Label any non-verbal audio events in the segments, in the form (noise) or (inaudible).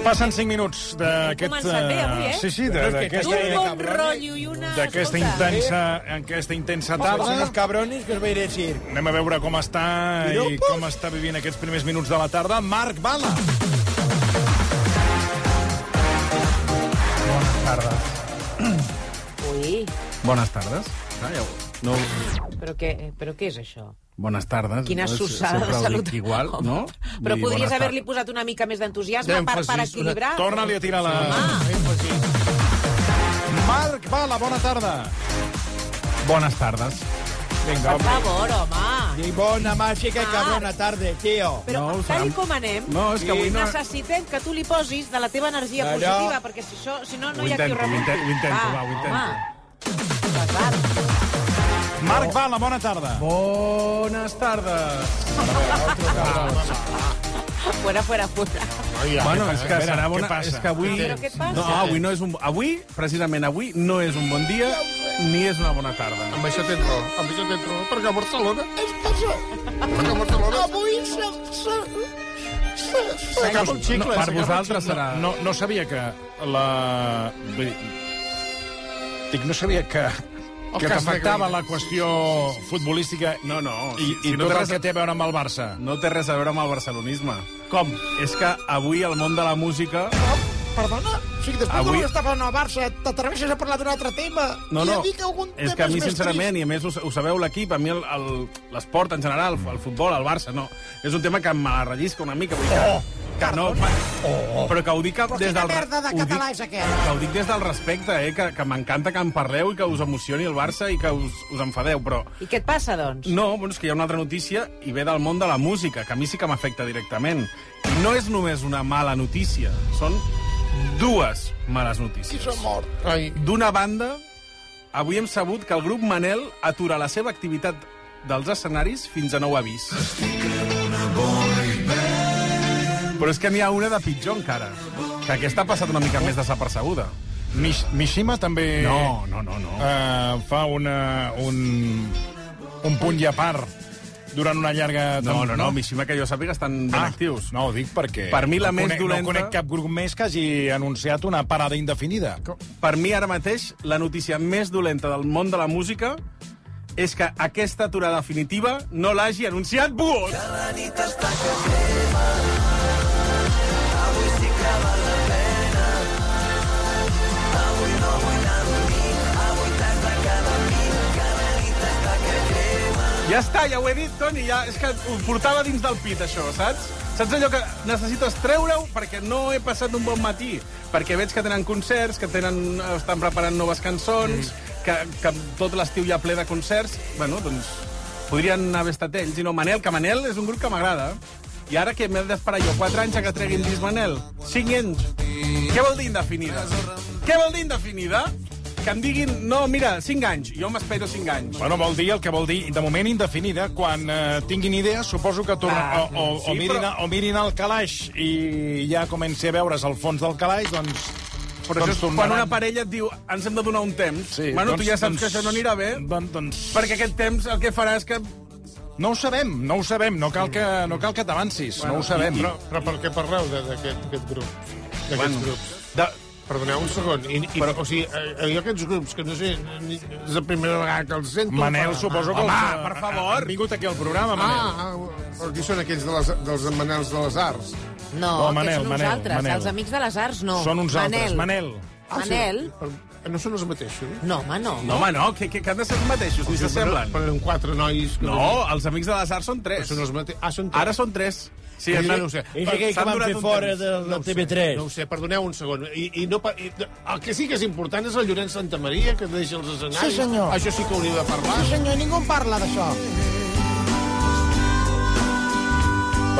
Passen 5 minuts d'aquest... començat bé avui, eh? Sí, sí, de- Però és que d'aquesta... Un bon rotllo i una... D'aquesta Escolta, intensa, aquesta intensa Son los tarda. cabrones que os voy a decir. Anem a veure com està i Piropos. com està vivint aquests primers minuts de la tarda. Marc Bala. Bones tardes. Ui, Bones tardes. No, però què, però què és això? bones tardes. Quina no? sussada Sempre de ho salut. dic Igual, Home, no? Però Vull dir, podries bones haver-li tardes. posat una mica més d'entusiasme per, D'èmfasis, per una- equilibrar. Torna-li a tirar la... Marc Bala, bona tarda. Bones tardes. Vinga, Per favor, home. Y buena mágica y cabrona tarde, tío. Però No, no, ho tal sabem. i com anem, No, és que avui no- necessitem que tu li posis de la teva energia Allò- positiva, perquè si, això, si no, no Ho hi ha qui Ah, intento, ho ho remunti. intento, ho intento, va, ho Home, pesat. Marc Bala, bona tarda. Bones tardes. Fuera, fuera, fuera. bueno, és que espera, serà què bona... passa? És que avui... Però què et passa? No, avui no és un... Avui, precisament avui, no és un bon dia ni és una bona tarda. Amb això tens raó, amb això tens raó, perquè a Barcelona és pitjor. Perquè a Barcelona... Avui se... se... se... s'acaba un No, xicle. per vosaltres serà... No, no sabia que la... vull dir, Dic, no sabia que que cas t'afectava de Greenwood. la qüestió futbolística i, No, no, i, si- si i no tot el t'has- que té a veure amb el Barça. No té res a veure amb el barcelonisme. Com? És que avui el món de la música... Perdona, si después Avui- de estar parlant al Barça t'atreveixes a parlar d'un altre tema i a No, no, dir que algun és tema que a mi, és més sincerament, i a més ho, ho sabeu l'equip, a mi el- el- l'esport en general, el futbol, el Barça, no. És un tema que me la rellisca una mica. Vull dir que, que no, oh. Però que ho dic Però des quina del... re- merda de ho dic- català és aquest? Que ho dic des del respecte, eh? Que, que m'encanta que en parleu i que us emocioni el Barça i que us, us enfadeu, però... I què et passa, doncs? No, bueno, és que hi ha una altra notícia i ve del món de la música, que a mi sí que m'afecta directament. I no és només una mala notícia, són dues males notícies. S'ha mort. Ai. D'una banda, avui hem sabut que el grup Manel atura la seva activitat dels escenaris fins a nou avís. Però és que n'hi ha una de pitjor encara, que aquesta ha passat una mica més desapercebuda. Mish, Mishima també No, no, no, no. eh, fa una, un, un punt i a part durant una llarga... No, no, no, Mishima, que jo sàpiga, estan ben Ah, actius. No, ho dic perquè... Per mi la no més conec, dolenta- No conec cap grup més que hagi anunciat una parada indefinida. Per mi, ara mateix, la notícia més dolenta del món de la música és que aquesta aturada definitiva no l'hagi anunciat Buot. Ja està, ja ho he dit, Toni, ja, és que ho portava dins del pit, això, saps? Saps allò que necessites treure-ho perquè no he passat un bon matí? Perquè veig que tenen concerts, que tenen, estan preparant noves cançons, mm. que, que tot l'estiu hi ha ple de concerts. Bueno, doncs podrien haver estat ells. I no Manel, que Manel és un grup que m'agrada. I ara que m'he d'esperar jo 4 anys a que tregui el disc Manel? 5 anys? Què vol dir indefinida? Què vol dir indefinida? Que em diguin, no, mira, 5 anys. Jo m'espero 5 anys. Bueno, vol dir el que vol dir, de moment indefinida. Quan eh, tinguin idees, suposo que tornen... Ah, o, o, sí, o, mirin, però- o mirin el calaix i ja comenci a veure's el fons del calaix, doncs... Però doncs això és quan una parella et diu ens hem de donar un temps. Sí, bueno, doncs, tu ja saps doncs, que això no anirà bé, Doncs, doncs, perquè aquest temps el que farà és que... No ho sabem, no ho sabem. No cal que, no cal que t'avancis, bueno, no ho sabem. Però, però per què parleu de- d'aquest d'aquest grup? D'aquests bueno. grups? De... Perdoneu un segon. I, i, però, o sigui, eh, jo aquests grups, que no sé, ni- és la primera vegada que els sento... Manel, però- suposo que... Home, els, eh, per favor. Han vingut aquí al programa, Manel. Ah, ah, però qui són aquells de les, dels Manels de les Arts? No, Oh, aquests Manel, són uns Manel, altres. Manel. Els amics de les arts, no. Són uns altres. Manel. Ah, sí. Manel. Però No són els mateixos? eh? No, home, no. No, home, no, que, que, que han de ser els mateixos, ni s'assemblen. Però eren quatre nois... que No, els amics de les arts són tres. Són els mate... Ah, són Ara són tres. Sí, Sí, han- no ho sé. És aquell que s'han van durat fer un fora temps. de la ho sé, TV3. No ho sé, perdoneu un segon. I, i no, pa- i, el que sí que és important és el Llorenç Santamaria, que deixa els escenaris. Sí, senyor. Això sí que hauria de parlar. senyor, ningú en parla d'això.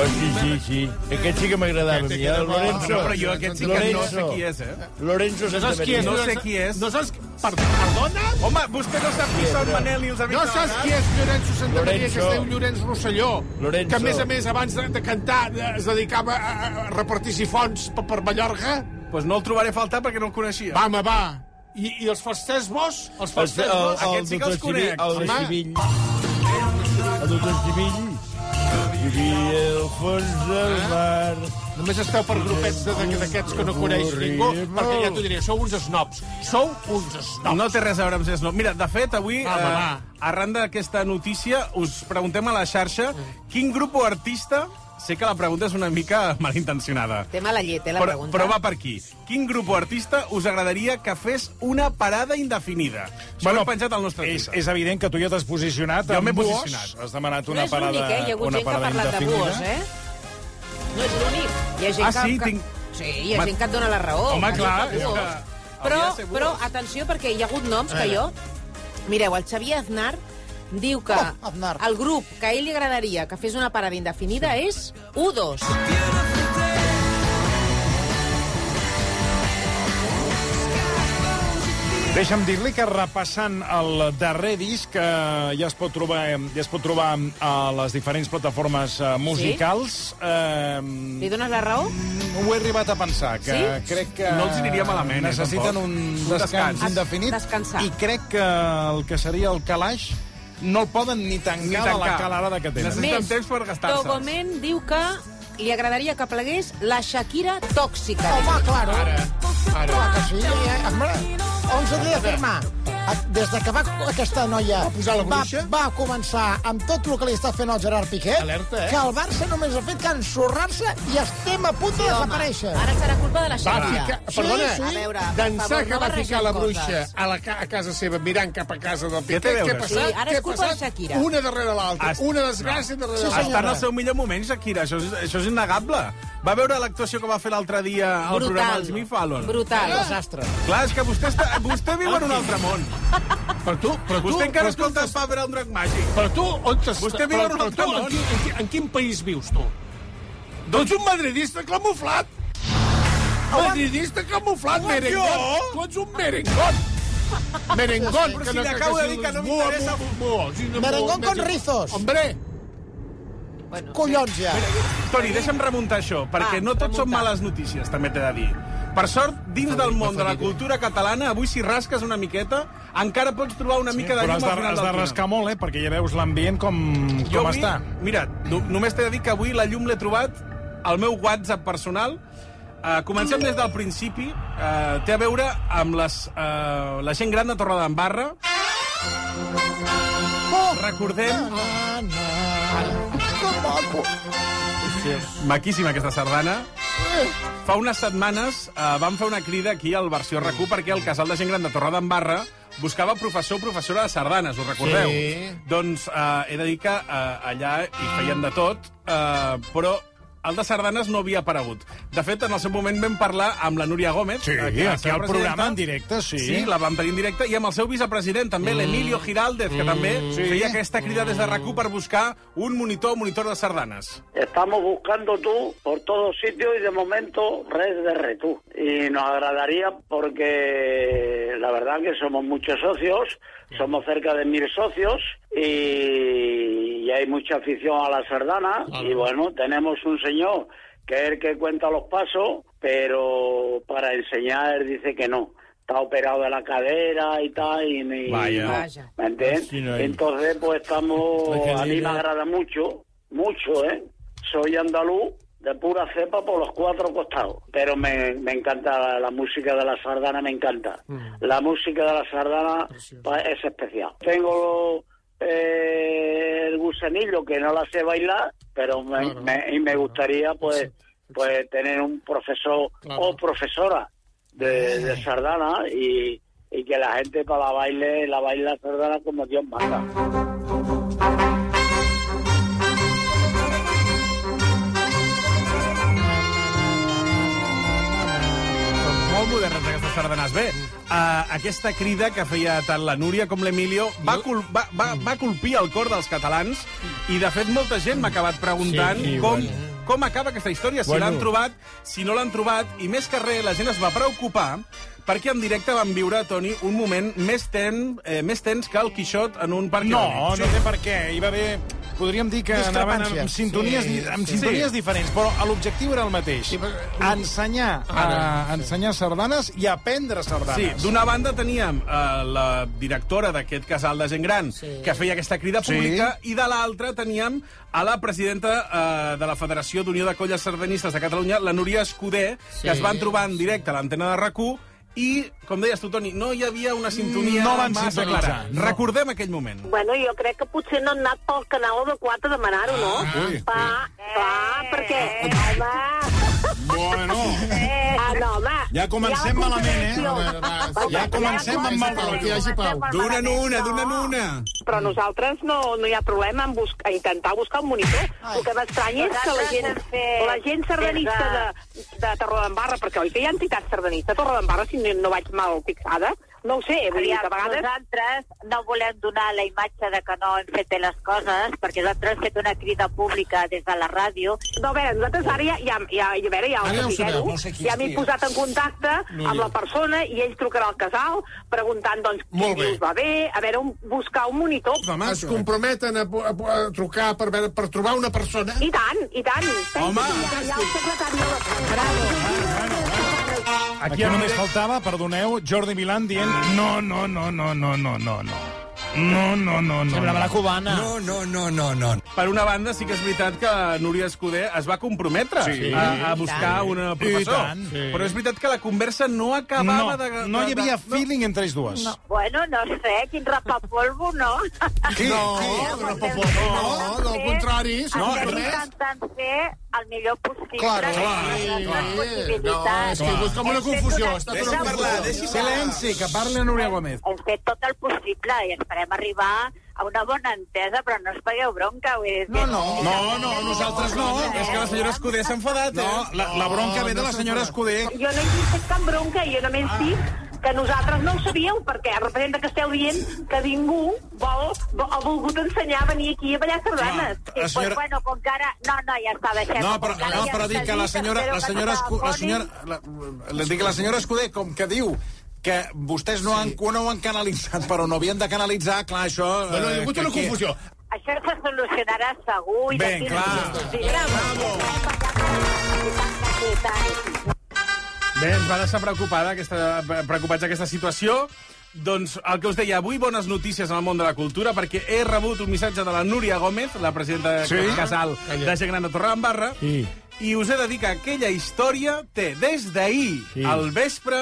Oh, sí, sí, sí. Aquest sí que m'agradava a mi, eh? El Lorenzo. No, però jo aquest sí que no sé qui és, eh? Lorenzo No saps qui és? No sé qui és. No saps... Per- Perdona? Home, vostè no sap qui són Manel i els amics No de la saps Nat? qui és Llorenço Santa Maria, que es Lorenzo. diu Llorenç Rosselló, Lorenzo. que a més a més abans de, de cantar eh, es dedicava a, a- a repartir sifons per, per Mallorca? Doncs pues no el trobaré a faltar perquè no el coneixia. Va, home, va. I, i els fasters bos? Els El, fasters el, bos? el Aquests sí que doctor els Civil, conec. el de Home. Civil. El doctor Civil. I aquí al fons del Ah. mar. Només esteu per grupets de- de- d'aquests que no coneix ningú, perquè ja t'ho diré, sou uns snobs. Sou uns snobs. No té res a veure amb ser snob. Mira, de fet, avui, Va, va, va. eh, arran d'aquesta notícia, us preguntem a la xarxa quin grup o artista... Sé que la pregunta és una mica malintencionada. Té mala llet, eh, la Però, pregunta. però va per aquí. Quin grup o artista us agradaria que fes una parada indefinida? Això bueno, ho hem penjat al nostre és, Twitter. és evident que tu ja t'has posicionat Jo amb m'he Buhos. posicionat. Has demanat No una és parada, l'únic, eh? Hi ha hagut una gent que ha parada parlat de indefinida. buos, eh? No és l'únic. Hi ha gent Ah, que... sí? que... Tinc- Sí, hi ha Home, gent que et dona la raó. home, que clar, diu que és buos. que Però, hauria de ser buos. però, atenció, perquè hi ha hagut noms que jo... Mireu, el Xavier Aznar diu que Oh, Aznar. el grup que a ell li agradaria que fes una parada indefinida és U2. Deixa'm dir-li que repassant el darrer disc que ja es pot trobar, eh, ja es pot trobar a les diferents plataformes eh, musicals, Li sí? dones la raó? eh, ho he arribat a pensar, que Sí? crec que... No els aniria malament, eh, Necessiten tampoc. un Un descans, descans. indefinit. Descansar. I crec que el que seria el calaix no el poden ni tancar, Ni de la tancar. calarada que tenen. Necessiten temps per gastar-se'ls. Togomen diu que li agradaria que plegués la Shakira tòxica. Home, claro. Ara. Clar que sí, eh? Home, on s'hauria d'afirmar? Des de que va aquesta noia Va posar la bruixa? va, va començar amb tot el que li està fent el Gerard Piqué, Alerta, eh? que el Barça només ha fet que ensorrar-se i estem a punt de desaparèixer. Ah, Ara serà culpa de la Va Shakira. ficar... Sí, Perdona, sí. A veure, per d'ençà favor, que no va barregem ficar la bruixa coses. a, la, ca- a casa seva mirant cap a casa del Ja Piqué, té què veures. ha passat? Sí, ara Què és ha culpa de passat? Shakira. Una darrere l'altra. Has- Una desgràcia darrere Sí, l'altra. Està en el seu millor moment, Shakira. Això és, això és innegable. Va veure l'actuació que va fer l'altre dia al programa Brutal. del Jimmy Fallon. Brutal. Desastre. Clar, és que vostè, està, vostè viu en un altre món. Però tu, però Vostè encara escolta el Pablo el Drac Màgic. Però tu, on estàs? Vostè viu en un altre món. en, en quin país vius, tu? Doncs un madridista camuflat. Madridista camuflat, merengón. jo? Tu ets un merengón. Merengón, Però si li acabo de dir que no m'interessa Oh, Merengón con rizos. Hombre, Bueno, Collons, ja. Toni, deixa'm remuntar això, perquè Va, no tot són remunta. males notícies, també t'he de dir. Per sort, dins del món de la cultura catalana, avui si rasques una miqueta, encara pots trobar una mica de llum Però has al de, final has del de túnel. rascar molt, eh? Perquè ja veus l'ambient com, Jo com avui, està. Mira, no, només t'he de dir que avui la llum l'he trobat al meu WhatsApp personal. Uh, comencem des del principi. Uh, té a veure amb les, uh, la gent gran de Torredembarra. Oh, Recordem... na, na. Que maco. Maquíssima, aquesta sardana. Fa unes setmanes eh, vam fer una crida aquí al Versió RAC1 perquè el casal de gent gran de Torredembarra buscava professor o professora de sardanes, us recordeu? Sí. Doncs eh, he de dir que eh, allà hi feien de tot, eh, però el de sardanes no havia aparegut. De fet, en el seu moment vam parlar amb la Núria Gómez. Sí, eh, que aquí era la al seva presidenta. programa en directe, sí. Mm. Sí, la vam tenir en directe, i amb el seu vicepresident, també, l'Emilio Giraldez, que també feia aquesta crida des de RAC1 per buscar un monitor o monitor de sardanes. Estamos buscando tú por todos sitios y de momento red de retú. Y nos agradaría porque la verdad que somos muchos socios, somos cerca de mil socios y, y hay mucha afición a la sardana. Y bueno, tenemos un señor que es el que cuenta los pasos, pero para enseñar dice que no. Está operado de la cadera y tal, y, ni- Vaya. no. Vaya. ¿Me entiendes? Sí, no hay- Entonces, pues estamos... A mí me agrada mucho, mucho, ¿eh? Soy andaluz de pura cepa por los cuatro costados, pero me, me encanta la, la música de la sardana, me encanta. Mm. La música de la sardana pa- es especial. Tengo eh, el gusanillo que no la sé bailar, pero me, me- y me gustaría pues, pues tener un profesor o profesora de, de sardana y, y que la gente para la baile, la baila sardana como Dios manda. Són molt modernes aquestes sardanes. Bé, uh, aquesta crida que feia tant la Núria com l'Emilio va, cul va, va, va colpir el cor dels catalans i, de fet, molta gent m'ha acabat preguntant Sí, sí, com bueno. com acaba aquesta història, si Bueno. l'han trobat, si no l'han trobat, i més que res, la gent es va preocupar perquè en directe van viure, Toni, un moment més, ten, eh, més tens que el Quixot en un parc No, irònic. no sé per què. Hi va haver... Podríem dir que anaven amb Discrepàncies. sintonies, Sí, sí, amb sí. sintonies diferents, però l'objectiu era el mateix. Ensenyar, a, ensenyar sardanes i aprendre Sí, sardanes. d'una banda teníem eh, la directora d'aquest casal de gent gran Sí. que feia aquesta crida Sí. pública i de l'altra teníem a la presidenta eh, de la Federació d'Unió de Colles Sardanistes de Catalunya, la Núria Escudé, sí. que es van trobar en directe a l'antena de rac i, com deies tu, Toni, no hi havia una sintonia No van massa sintonitzar, clara. no. Recordem aquell moment. Bueno, jo crec que potser no han anat pel canal de 4 a demanar-ho, no? Ah, ui. Va, va, perquè... Home... Bueno, Ah, no, home. Ja comencem Hi ha la malament, eh? contradicció. Home, va, sí. Ja comencem amb mal Comencem rotllo. Que hi hagi pau. malament, Dona'n una, no. dona'n una. Però nosaltres no, no hi ha problema en, bus a intentar buscar un monitor. Ai. El que m'estranya és que la gent, la gent sardanista de, de Torredembarra, perquè oi que hi ha entitats sardanistes a Torredembarra, si no, no vaig mal fixada, no ho sé, vull dir que a vegades... nosaltres no volem donar la imatge de que no hem fet bé les coses, perquè nosaltres hem fet una crida pública des de la ràdio. No, a veure, nosaltres ara ja, ja, ja, ja, a veure, ja, Ara ja ho sabeu, no sé qui ja m'he estia. posat en contacte amb la persona i ell trucarà al casal preguntant, doncs, Molt qui bé. dius va bé, a veure, un, buscar un monitor. Es comprometen a, a, a trucar per, veure, per trobar una persona. I tant, i tant. Home! Ja, ja el secretari de la... Bravo. Aquí només faltava, perdoneu, Jordi Milan dient no, no, no, no, no, no, no, no. No, no, no, no. Semblava la cubana. No. no, no, no, no. Per una banda, sí que és veritat que Núria Escudé es va comprometre Sí. a, a buscar un I professor. tant. Sí. Però és veritat que la conversa no acabava No, de... de- no hi havia de- no. feeling entre ells dues. No. Bueno, no sé, quin rapapolvo, no? Qui? No, no, no, no, no, al contrari. No, No, Estem res. intentant fer el millor possible. Claro, clar, les clar. nostres No, és possibilitats. que hi ha com una Hem fet confusió, una està crida tot en parlar, pública. deixi Silenci, que parli Núria Gómez. Hem fet tot el possible i esperem arribar a una bona entesa, però no us pagueu bronca. Vull dir, que- No, no, nosaltres no. És que la senyora Escudé s'ha enfadat, eh? No, la, la bronca ve de la senyora Escudé. Jo no he fet cap bronca, jo només dic que nosaltres no ho sabíeu, perquè representa que esteu dient que ningú vol, vol, ha volgut ensenyar a venir aquí a ballar sardanes. La Pues, senyora- bueno, com que ara... No, no, ja està, deixem. No, però, no, però dic que la senyora... La senyora, Escu, la senyora, la, la, dic que la senyora Escudé, com que diu que vostès no, han, no ho han canalitzat, però no havien de canalitzar, clar, això... eh, Bueno, hi ha hagut que- una que- confusió. Això se solucionarà segur. i Ben, d'aquí clar. no us diré. Sí, tant. Bé, ens va deixar preocupada aquesta, preocupats aquesta situació. Doncs el que us deia, avui bones notícies en el món de la cultura, perquè he rebut un missatge de la Núria Gómez, la presidenta de Sí? Casal de Gent Gran de Torredembarra, Sí. i us he de dir que aquella història té des d'ahir Sí. al vespre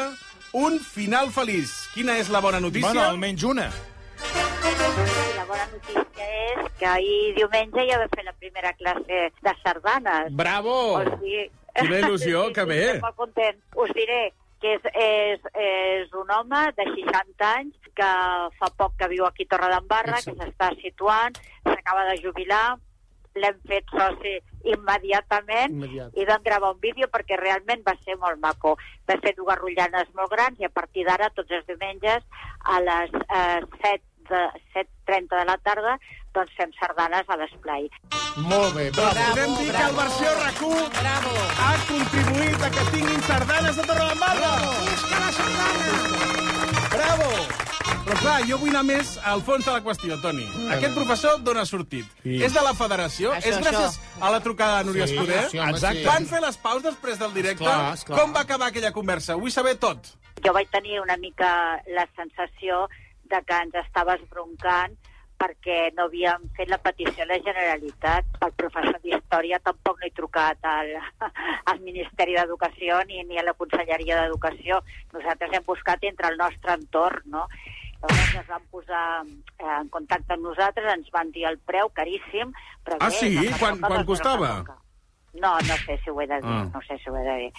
un final feliç. Quina és la bona notícia? Bueno, almenys una. I La bona notícia és que ahir diumenge ja vam fer la primera classe de sardanes. Bravo! O sigui... (laughs) Quina il·lusió, que bé. Estic molt content. Us diré que és, és, és un home de 60 anys que fa poc que viu aquí a Torredembarra, que s'està situant, s'acaba de jubilar, l'hem fet soci immediatament Immediat. i vam gravar un vídeo perquè realment va ser molt maco. Va fer dues rotllanes molt grans i a partir d'ara, tots els diumenges, a les eh, 7 de 7.30 de la tarda, doncs fem sardanes a l'esplai. Molt bé, bravo. Podem dir que el versió RAC1 Bravo. ha contribuït a que tinguin sardanes de Torredembarra. Bravo! Però clar, jo vull anar més al fons de la qüestió, Toni. Aquest professor d'on ha sortit? És de la federació? Això, és gràcies a la trucada de Núria Sí, Escudé? sí, home, Exacte. sí. Van fer les paus després del directe? Esclar, esclar. Com va acabar aquella conversa? Vull saber tot. jo vaig tenir una mica la sensació de que ens estaves broncant perquè no havíem fet la petició a la Generalitat. El professor d'Història tampoc no he trucat al, (laughs) al Ministeri d'Educació ni, ni a la Conselleria d'Educació. Nosaltres hem buscat entre el nostre entorn, no? Llavors es van posar eh, en contacte amb nosaltres, ens van dir el preu, caríssim. Però Ah, bé, sí? no passa Quan- quan res, no passa costava? res. No, no sé si ho he de dir, Ah. no sé si ho he de dir.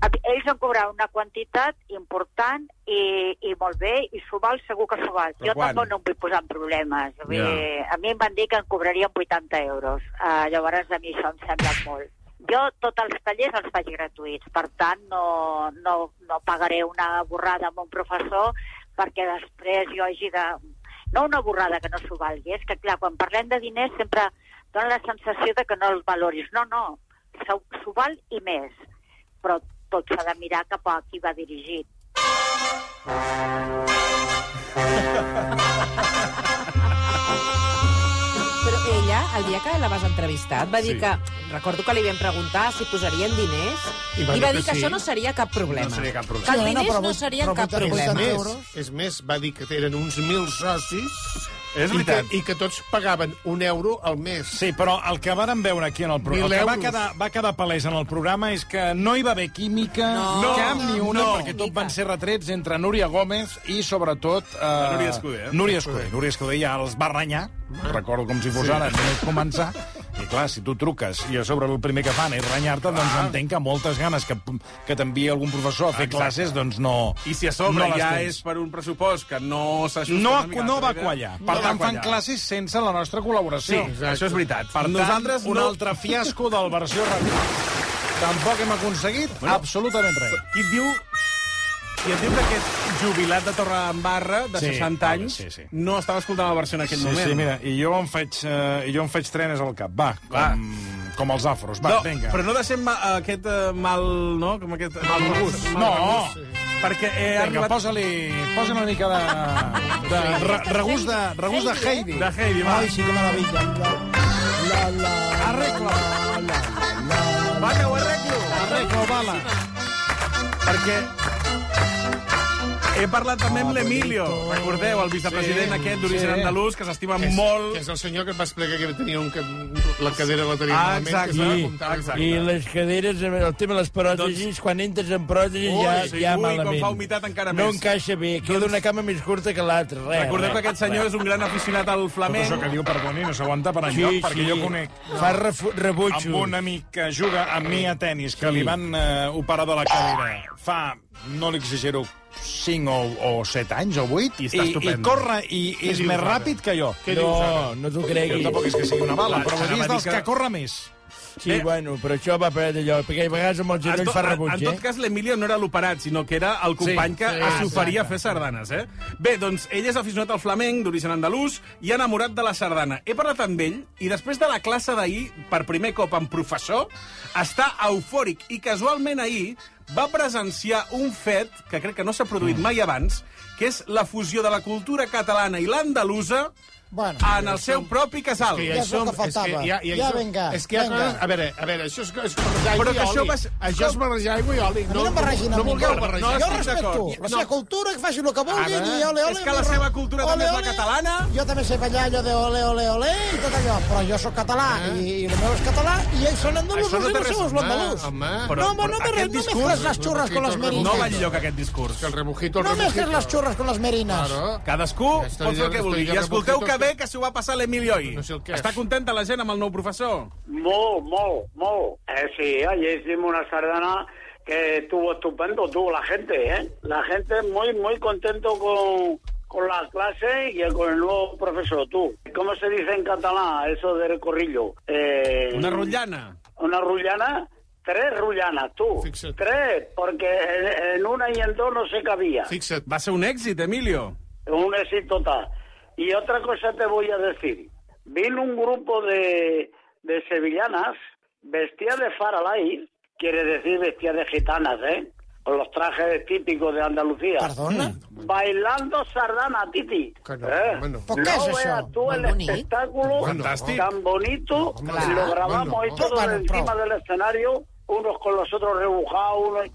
A- Ells han cobrat una quantitat important i, i molt bé, i s'ho val, segur que s'ho val. Però jo quan? tampoc no em vull posar en problemes. Vull Ja. dir, A mi em van dir que em cobrarien 80 euros. Uh, llavors, a mi això em sembla molt. Jo tots els tallers els faig gratuïts, per tant, no, no, no pagaré una borrada amb un professor perquè després jo hagi de... No una borrada que no s'ho valgui, és que, clar, quan parlem de diners sempre dona la sensació de que no el valoris. No, no, s'ho s'ho val i més. Però tot s'ha de mirar cap a qui va dirigit. Però ella, el dia que la vas entrevistar, et va dir Sí. que... Recordo que li vam preguntar si posarien diners I i va, va dir que dir que sí. això no seria cap problema. No seria cap problema. Que Sí, els no, no, diners però no, vuit- serien però cap vuitanta problema. més, És més, va dir que eren uns mil socis És i, que, veritat. i que tots pagaven un euro al mes. Sí, però el que vàrem veure aquí en el Mil programa, el que va euros. quedar, va quedar palès en el programa és que no hi va haver química, No, cap ni una, no. perquè tot van ser retrets entre Núria Gómez i, sobretot... Eh, Núria Escudé. Núria Escudé. Núria Escudé ja els va renyar, recordo com si fos Ah. Sí. sí. ara, només començar. I clar, si tu truques i a sobre el primer que fan és renyar-te, doncs entenc que moltes ganes que, que t'envia algun professor a fer Exacte. classes, doncs no... I si a sobre no no les ja tens. és per un pressupost que no s'ajusta... No, una mica a la no teva va idea, quallar. no Per va tant, fan quallar. classes sense la nostra Sí, col·laboració. exacte. això és veritat. Per Nosaltres tant, un no- altre fiasco del versió ràpida. Tampoc hem aconseguit bueno, absolutament res. Qui et diu... Qui et diu que aquest jubilat de Torredembarra, de Sí, 60 anys, sí, sí. no estava escoltant la versió en aquell sí, moment. sí, mira, i jo em faig, eh, i jo em faig trenes al cap. Va, com, va. com els afros. Va, no, vinga. Però no deixem ma, aquest eh, mal... No? Com aquest eh, mal gust. No. Perquè he Vinga, arribat... posa-li posa una mica de... de re, regust de, regust de Heidi. De Heidi, va. Ai, sí que meravella. Arregla. Va, que ho arreglo. Arreglo, bala. Perquè he parlat també amb l'Emilio, recordeu, el vicepresident Sí, aquest d'origen sí. andalús, que s'estima Que és- molt... Que és el senyor que et va explicar que tenia un, ca- la cadera la tenia Ah, malament, que exacte. s'ha I- de comptar. exacte. I les caderes, el tema de les pròtesis, doncs... quan entres en pròtesis Ui, ja, sí, ja ui, quan malament. fa humitat encara no més. encaixa bé, queda Doncs una cama més curta que l'altra. res, Recordeu res, que aquest senyor res. és un gran aficionat al flamenc. Tot això que diu Perdoni no s'aguanta per enlloc, Sí, perquè sí. jo conec... Fa refu- rebutjos. Amb un amic que juga amb mi a tennis, que Sí. li van eh, operar de la cadera fa, no li exagero, 5 o, o 7 anys o 8, I està i estupendo. corre i Què és dius més ara? ràpid que jo. Què dius ara? No, no t'ho creguis. Jo tampoc és que sigui una bala, Clar, però vull dir anava és a dir dels que- que corre més. Sí, eh? bueno, però això va per allò, perquè a vegades amb el En, genoll to, fa en, rebuig, en tot eh? cas, l'Emilio no era l'operat, sinó que era el company Sí, que sí, sí, s'oferia a exacte. fer sardanes, eh? Bé, doncs, ell és aficionat al flamenc, d'origen andalús, i enamorat de la sardana. He parlat amb ell, i després de la classe d'ahir, per primer cop amb professor, està eufòric, i casualment ahir va presenciar un fet que crec que no s'ha produït Mm. mai abans, que és la fusió de la cultura catalana i l'andalusa Bueno, en el seu propi casal. que ja som, és que ja, ja, hi Ja, som. vinga, És que hi ha vinga. coses... A veure, a veure, això és, és barrejar Però aigua que i això oli. va ser- Això és barrejar aigua i oli. A mi no em barregin no amb ningú. vulgueu barrejar. jo respecto la seva cultura, que faci el que vulguin Ara. i ole, ole. És que la seva cultura també és la catalana. Jo també sé ballar allò de ole, ole, ole i tot allò, però jo sóc català Ah. i, i el meu és català i ells són andalusos Això no i té no res- sou Home, l'andalús. home. No, Però- home, no però me, aquest no me discurs- fres les xurres con les No va merinas. enlloc aquest discurs. Que el rebujito, el No me rebujito. fres les xurres con les merinas. Cadascú Està pot fer el dient- que vulgui. està I dient escolteu Rebujito que que- bé que s'ho va passar l'Emilio ahir. No sé el que Està és. contenta la gent amb el nou professor? Molt, molt, molt. Eh, sí, ayer hicimos una sardana que estuvo estupendo, tuvo la gente, ¿eh? La gente muy, muy contento con, con la clase y con el nuevo profesor, tú. ¿Cómo se dice en catalán eso del corrillo? Eh, Una rotllana. Una rullana, tres rullanas, tú. Tres, porque en, en una y en dos no se cabía. Fixa't. Va ser un èxit, Emilio. Un éxito total. Y otra cosa te voy a decir. Vino un grupo de, de sevillanas vestidas de faralay, quiere decir vestidas de gitanas, ¿eh? Con los trajes típicos de Andalucía. ¿Perdona? Bailando sardana, Titi. ¿Eh? ¿Por qué es No eso? veas tú el espectáculo Fantástico. tan bonito. Claro. Lo grabamos ahí Bueno. todos Bueno, encima pero- del escenario, unos con los otros rebujados, unos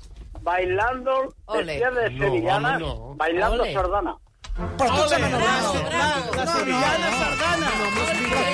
bailando, Ole. vestidas de No, sevillanas, vamos, no. bailando Ole. sardana. Però tu ets Bravo, bravo. La sevillana sardana.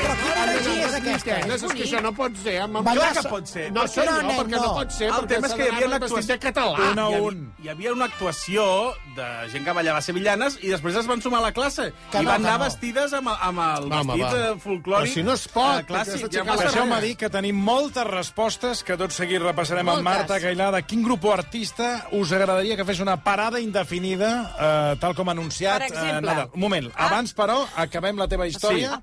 Però quina energia és aquesta? No, és que això no pot ser, home. Ballar Clar que sa- pot ser. No, No, això no, no, nen, perquè no no. pot ser. El perquè tema és que hi havia una Sardana és vestit actuació... de català. Un a Hi havia- un. Hi havia una actuació de gent que ballava sevillanes i després es van sumar a la classe. Que I no, van que anar no. vestides amb, amb el Va, home, vestit va. eh, folclòric. Però si no es pot, Ah, eh, clàssic. perquè has Ja d'aixecar la passarem. mà. Deixeu-me dir que tenim moltes respostes que tot seguit repassarem amb Moltes. Marta Gailà de quin grup o artista us agradaria que fes una parada indefinida, eh, tal com ha anunciat Per exemple. Ah. eh, Nadal. Un moment, abans, però, acabem la teva història.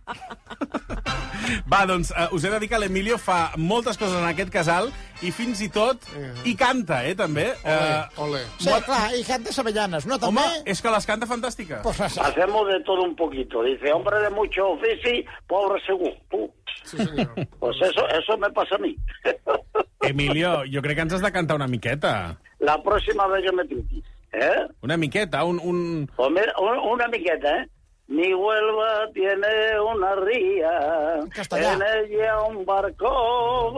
Va, doncs, uh, us he de dir que l'Emilio fa moltes coses en aquest casal i fins i tot i canta, eh, també. Eh, Ole, ole. Sí, clar, i gent de sevellanes, no? home, També... és que les canta fantàstica. Pues, les- Hacemos de todo un poquito. Dice, hombre de mucho oficio, pobre según tú. Sí, senyor. Pues eso, eso me pasa a mí. Emilio, jo crec que ens has de cantar una miqueta. (laughs) La pròxima vegada que me truquis, eh? Una miqueta, un... un... Home, un- una miqueta, eh? Mi Huelva tiene una ría, castellà. en ella un barco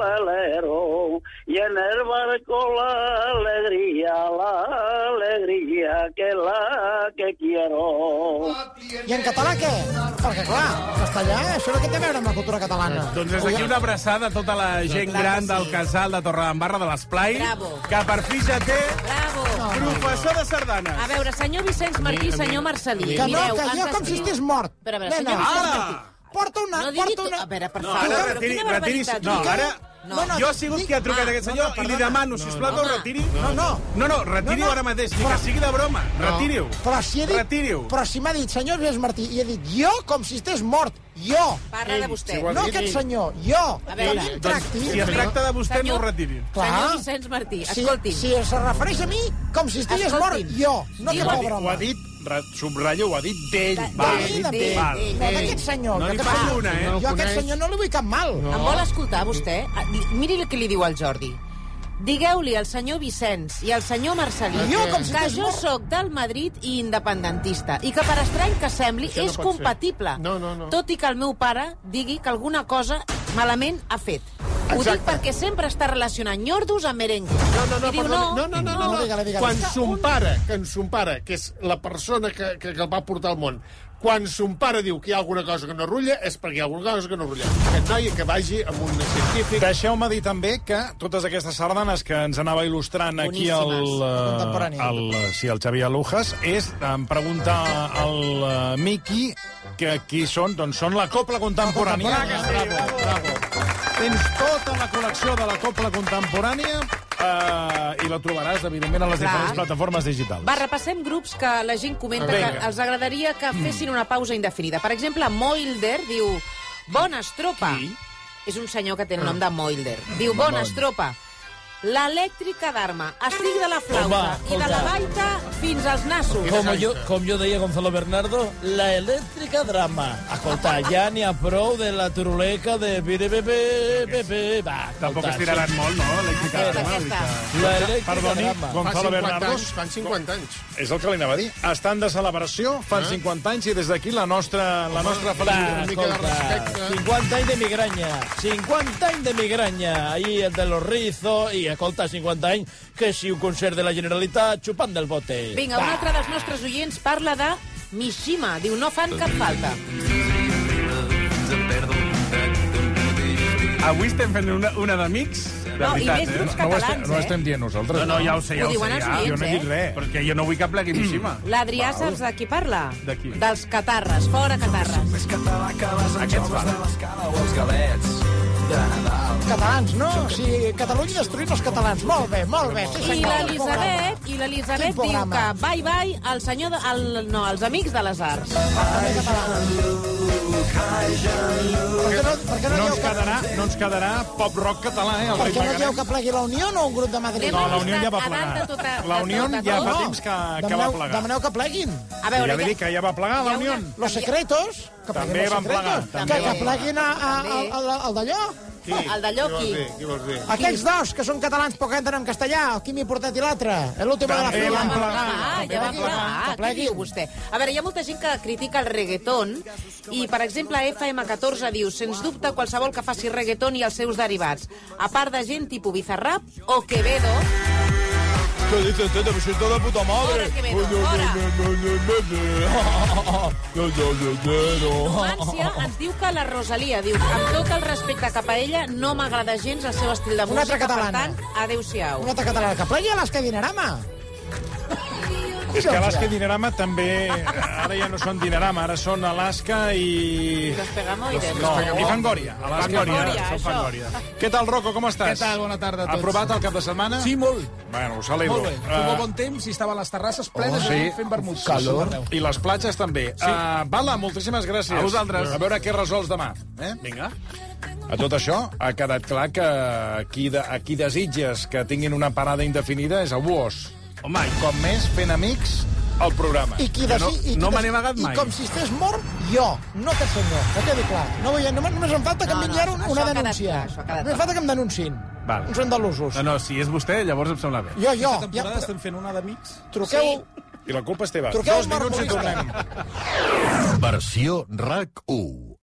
velero, y en el barco la alegría, la alegría, que es la que quiero. I en català què? Perquè, clar, castellà, això no què té a veure amb la cultura catalana. Doncs des d'aquí una abraçada a tota la gent Clar que gran sí. del casal de Torredembarra de l'Esplai, Bravo. que per fi ja té Bravo. professor de sardanes. A veure, senyor Vicenç Martí, A mi- a mi- senyor Marcelí. Que no, mireu, que han jo de com si ser- estés mort. Però, a veure, Nena, senyor Vicenç ara! Martí. Porta una... No digui tu... A veure, per No, favor. ara Però retiri, quina retiri... barbaritat. No, diu. ara... No. No, jo he sigut qui ha trucat Ah, aquest senyor i li demano, sisplau, que ho Home. retiri. No, no. No, no, retiri-ho ara mateix, ni que sigui de broma. Retiri-ho. Però si, he dit, Retiri-ho. però si m'ha dit, senyor Vicenç Martí, i he dit jo com si estés mort. Jo. Parla de vostè. si ho ha No dit aquest ell. senyor, jo. A Que veure, a mi em Doncs, tracti. si es tracta de vostè, no ho retiri. Senyor Clar. Vicenç Martí, Si, escolti'm. si es refereix a mi, com si estigués Escolti'm. mort jo. No Diu- que ho ha pobre Ho ha dit, re- subratllo, ho ha dit d'ell. De- Va, d'ell, dit de- d'ell. d'ell. Val. No, d'aquest senyor. No jo li que- passo una, eh? Jo a aquest senyor no li vull cap mal. Em vol escoltar, vostè? Ah, di- Miri el que li diu al Jordi. Digueu-li al senyor Vicenç i al senyor Marcelí Jo, com si que fes jo mort. sóc del Madrid i independentista i que per estrany que sembli Això no és pot ser. compatible, No, no, no. tot i que el meu pare digui que alguna cosa malament ha fet. Ho dic perquè sempre està relacionant nyordos amb merengue. No, no, no, I diu, perdoni. no, no, no, no, no, no. digue-li, digue-li. Quan És que son pare, que en son pare, que és la persona que, que, que el va portar al món, quan son pare diu que hi ha alguna cosa que no rulla, és perquè hi ha alguna cosa que no rulla. Aquest noi que vagi amb un científic... Deixeu-me dir també que totes aquestes sardanes que ens anava il·lustrant aquí el, eh, Contemporània. el, sí, el Xavier Lujas és em preguntar al eh, Miqui que qui són, doncs són la Copla Contemporània. La Copla Bravo, Contemporània. bravo. Tens tota la col·lecció de la Copla Contemporània eh, i la trobaràs, evidentment, a les Clar. diferents plataformes digitals. Va, repassem grups que la gent comenta Vinga. que els agradaria que fessin una pausa indefinida. Per exemple, Moilder diu... Bona estropa. És un senyor que té el nom Ah. de Moilder. Diu, bona estropa. L'elèctrica d'arma, estic de la flauta Home, i de la home. baita fins als nassos. Com jo, com jo deia Gonzalo Bernardo, la elèctrica drama. Escolta, ja n'hi ha prou de la turuleca de... Bire, be, be, be, be. Va, escolta, Tampoc estiraran sí. molt, no? Elèctrica Aquesta, d'arma, aquesta. vull dir La elèctrica Perdoni, drama. Fa Gonzalo 50 Bernardos, anys, fan 50 anys. és el que li anava a dir. Estan de celebració, fan 50 anys, i des d'aquí la nostra, la nostra Va, felicitació. escolta, eh? 50 anys de migraña, 50 anys de migraña, ahí el de los rizos, i escolta, 50 anys, que si un concert de la Generalitat xupant del bote. Vinga, un altre dels nostres oients parla de Mishima. Diu, no fan cap falta. que- Avui estem fent una, una d'amics, de No, i veritat, més grups eh? No ho, catalans, estem, no ho eh? estem dient nosaltres. No, no, ja ho sé, ja Ho ho, diuen sé. els Ja. Jo no he eh? dit res. Perquè jo no vull que (clears throat) plegui Mishima. L'Adrià, saps de qui parla? De qui? Dels catarres, fora catarres. Aquests van. Catalans, no? O sigui, Catalunya destruint els catalans. Molt bé, molt bé. I Sí, senyor. l'Elisabet, i l'Elisabet diu que Quin programa. bye bye al senyor de, al, no, als amics de les arts. Per què no, per què No no, dieu ens que... quedarà, no ens quedarà pop rock català, eh? El Per què ritme no dieu que plegui la Unió o un grup de Madrid? Anem a No, la Unió ja va a dalt de plegar. tota, La de Unió tota ja cosa. fa temps que, que va demaneu, plegar. demaneu que pleguin. A Ja veure, li dic que ja va plegar, la Unió. Los secretos. Que També pleguin Los van plegar, Secretos. també Que, que van pleguin a, a, a, a, a, al d'allò. El de Lloqui. Qui vols dir? Aquells dos que són catalans però canten en castellà, el Quimi Portet i l'altre, l'última de la També fila. van plegar. Ah, ja va També plegar. Que Què diu pleguin. vostè? A veure, hi ha molta gent que critica el reggaeton i, per exemple, FM14 diu sens dubte qualsevol que faci reggaeton i els seus derivats, a part de gent tipus Bizarrap o Quevedo, ¿Qué dices, tío? Me siento de puta Ahora madre. que me doy, ahora. (laughs) Oh. L'Ànsia ens diu que la Rosalia diu amb tot el respecte cap a ella no m'agrada gens el seu estil de Una altra música, per tant, catalana. adeu-siau. Una altra catalana. Que plegui a l'Esca Dinarama. És que Alaska i Dinarama també... Ara ja no són Dinarama, ara són Alaska i... Despegamoides. No, i Fangoria. Alaska i Fangoria, són això. Fangoria. Què tal, Rocco, com estàs? eh. Què tal? Bona tarda a tots. Aprovat el cap de setmana? Sí, molt. Bueno, us Molt alegro. bé. Uh... Eh, Molt bon temps i estava a les terrasses plenes Oh, oh, sí. sí. fent vermut. Calor. I les platges també. Sí. Uh, Bala, moltíssimes gràcies. A vosaltres. A veure què resols demà. Eh? Vinga. A tot això, ha quedat clar que qui, de, a qui desitges que tinguin una parada indefinida és a vos. Home, i Com més fent amics al programa. I qui Que desi... no- i qui no me desi- n'he amagat mai. I com si estés mort, jo. No que senyor. Que quedi clar. No, vull- només, només em falta que No, em no, vingui ara això- una això ha quedat denúncia. clar, això ha quedat Només falta que em denunciïn. Val. uns andalusos. No, no, si és vostè, llavors em sembla bé. Jo, jo. Aquesta temporada ja... estem fent una d'amics. Truqueu, I la culpa és teva. truqueu Dos minuts i tornem. Versió RAC 1.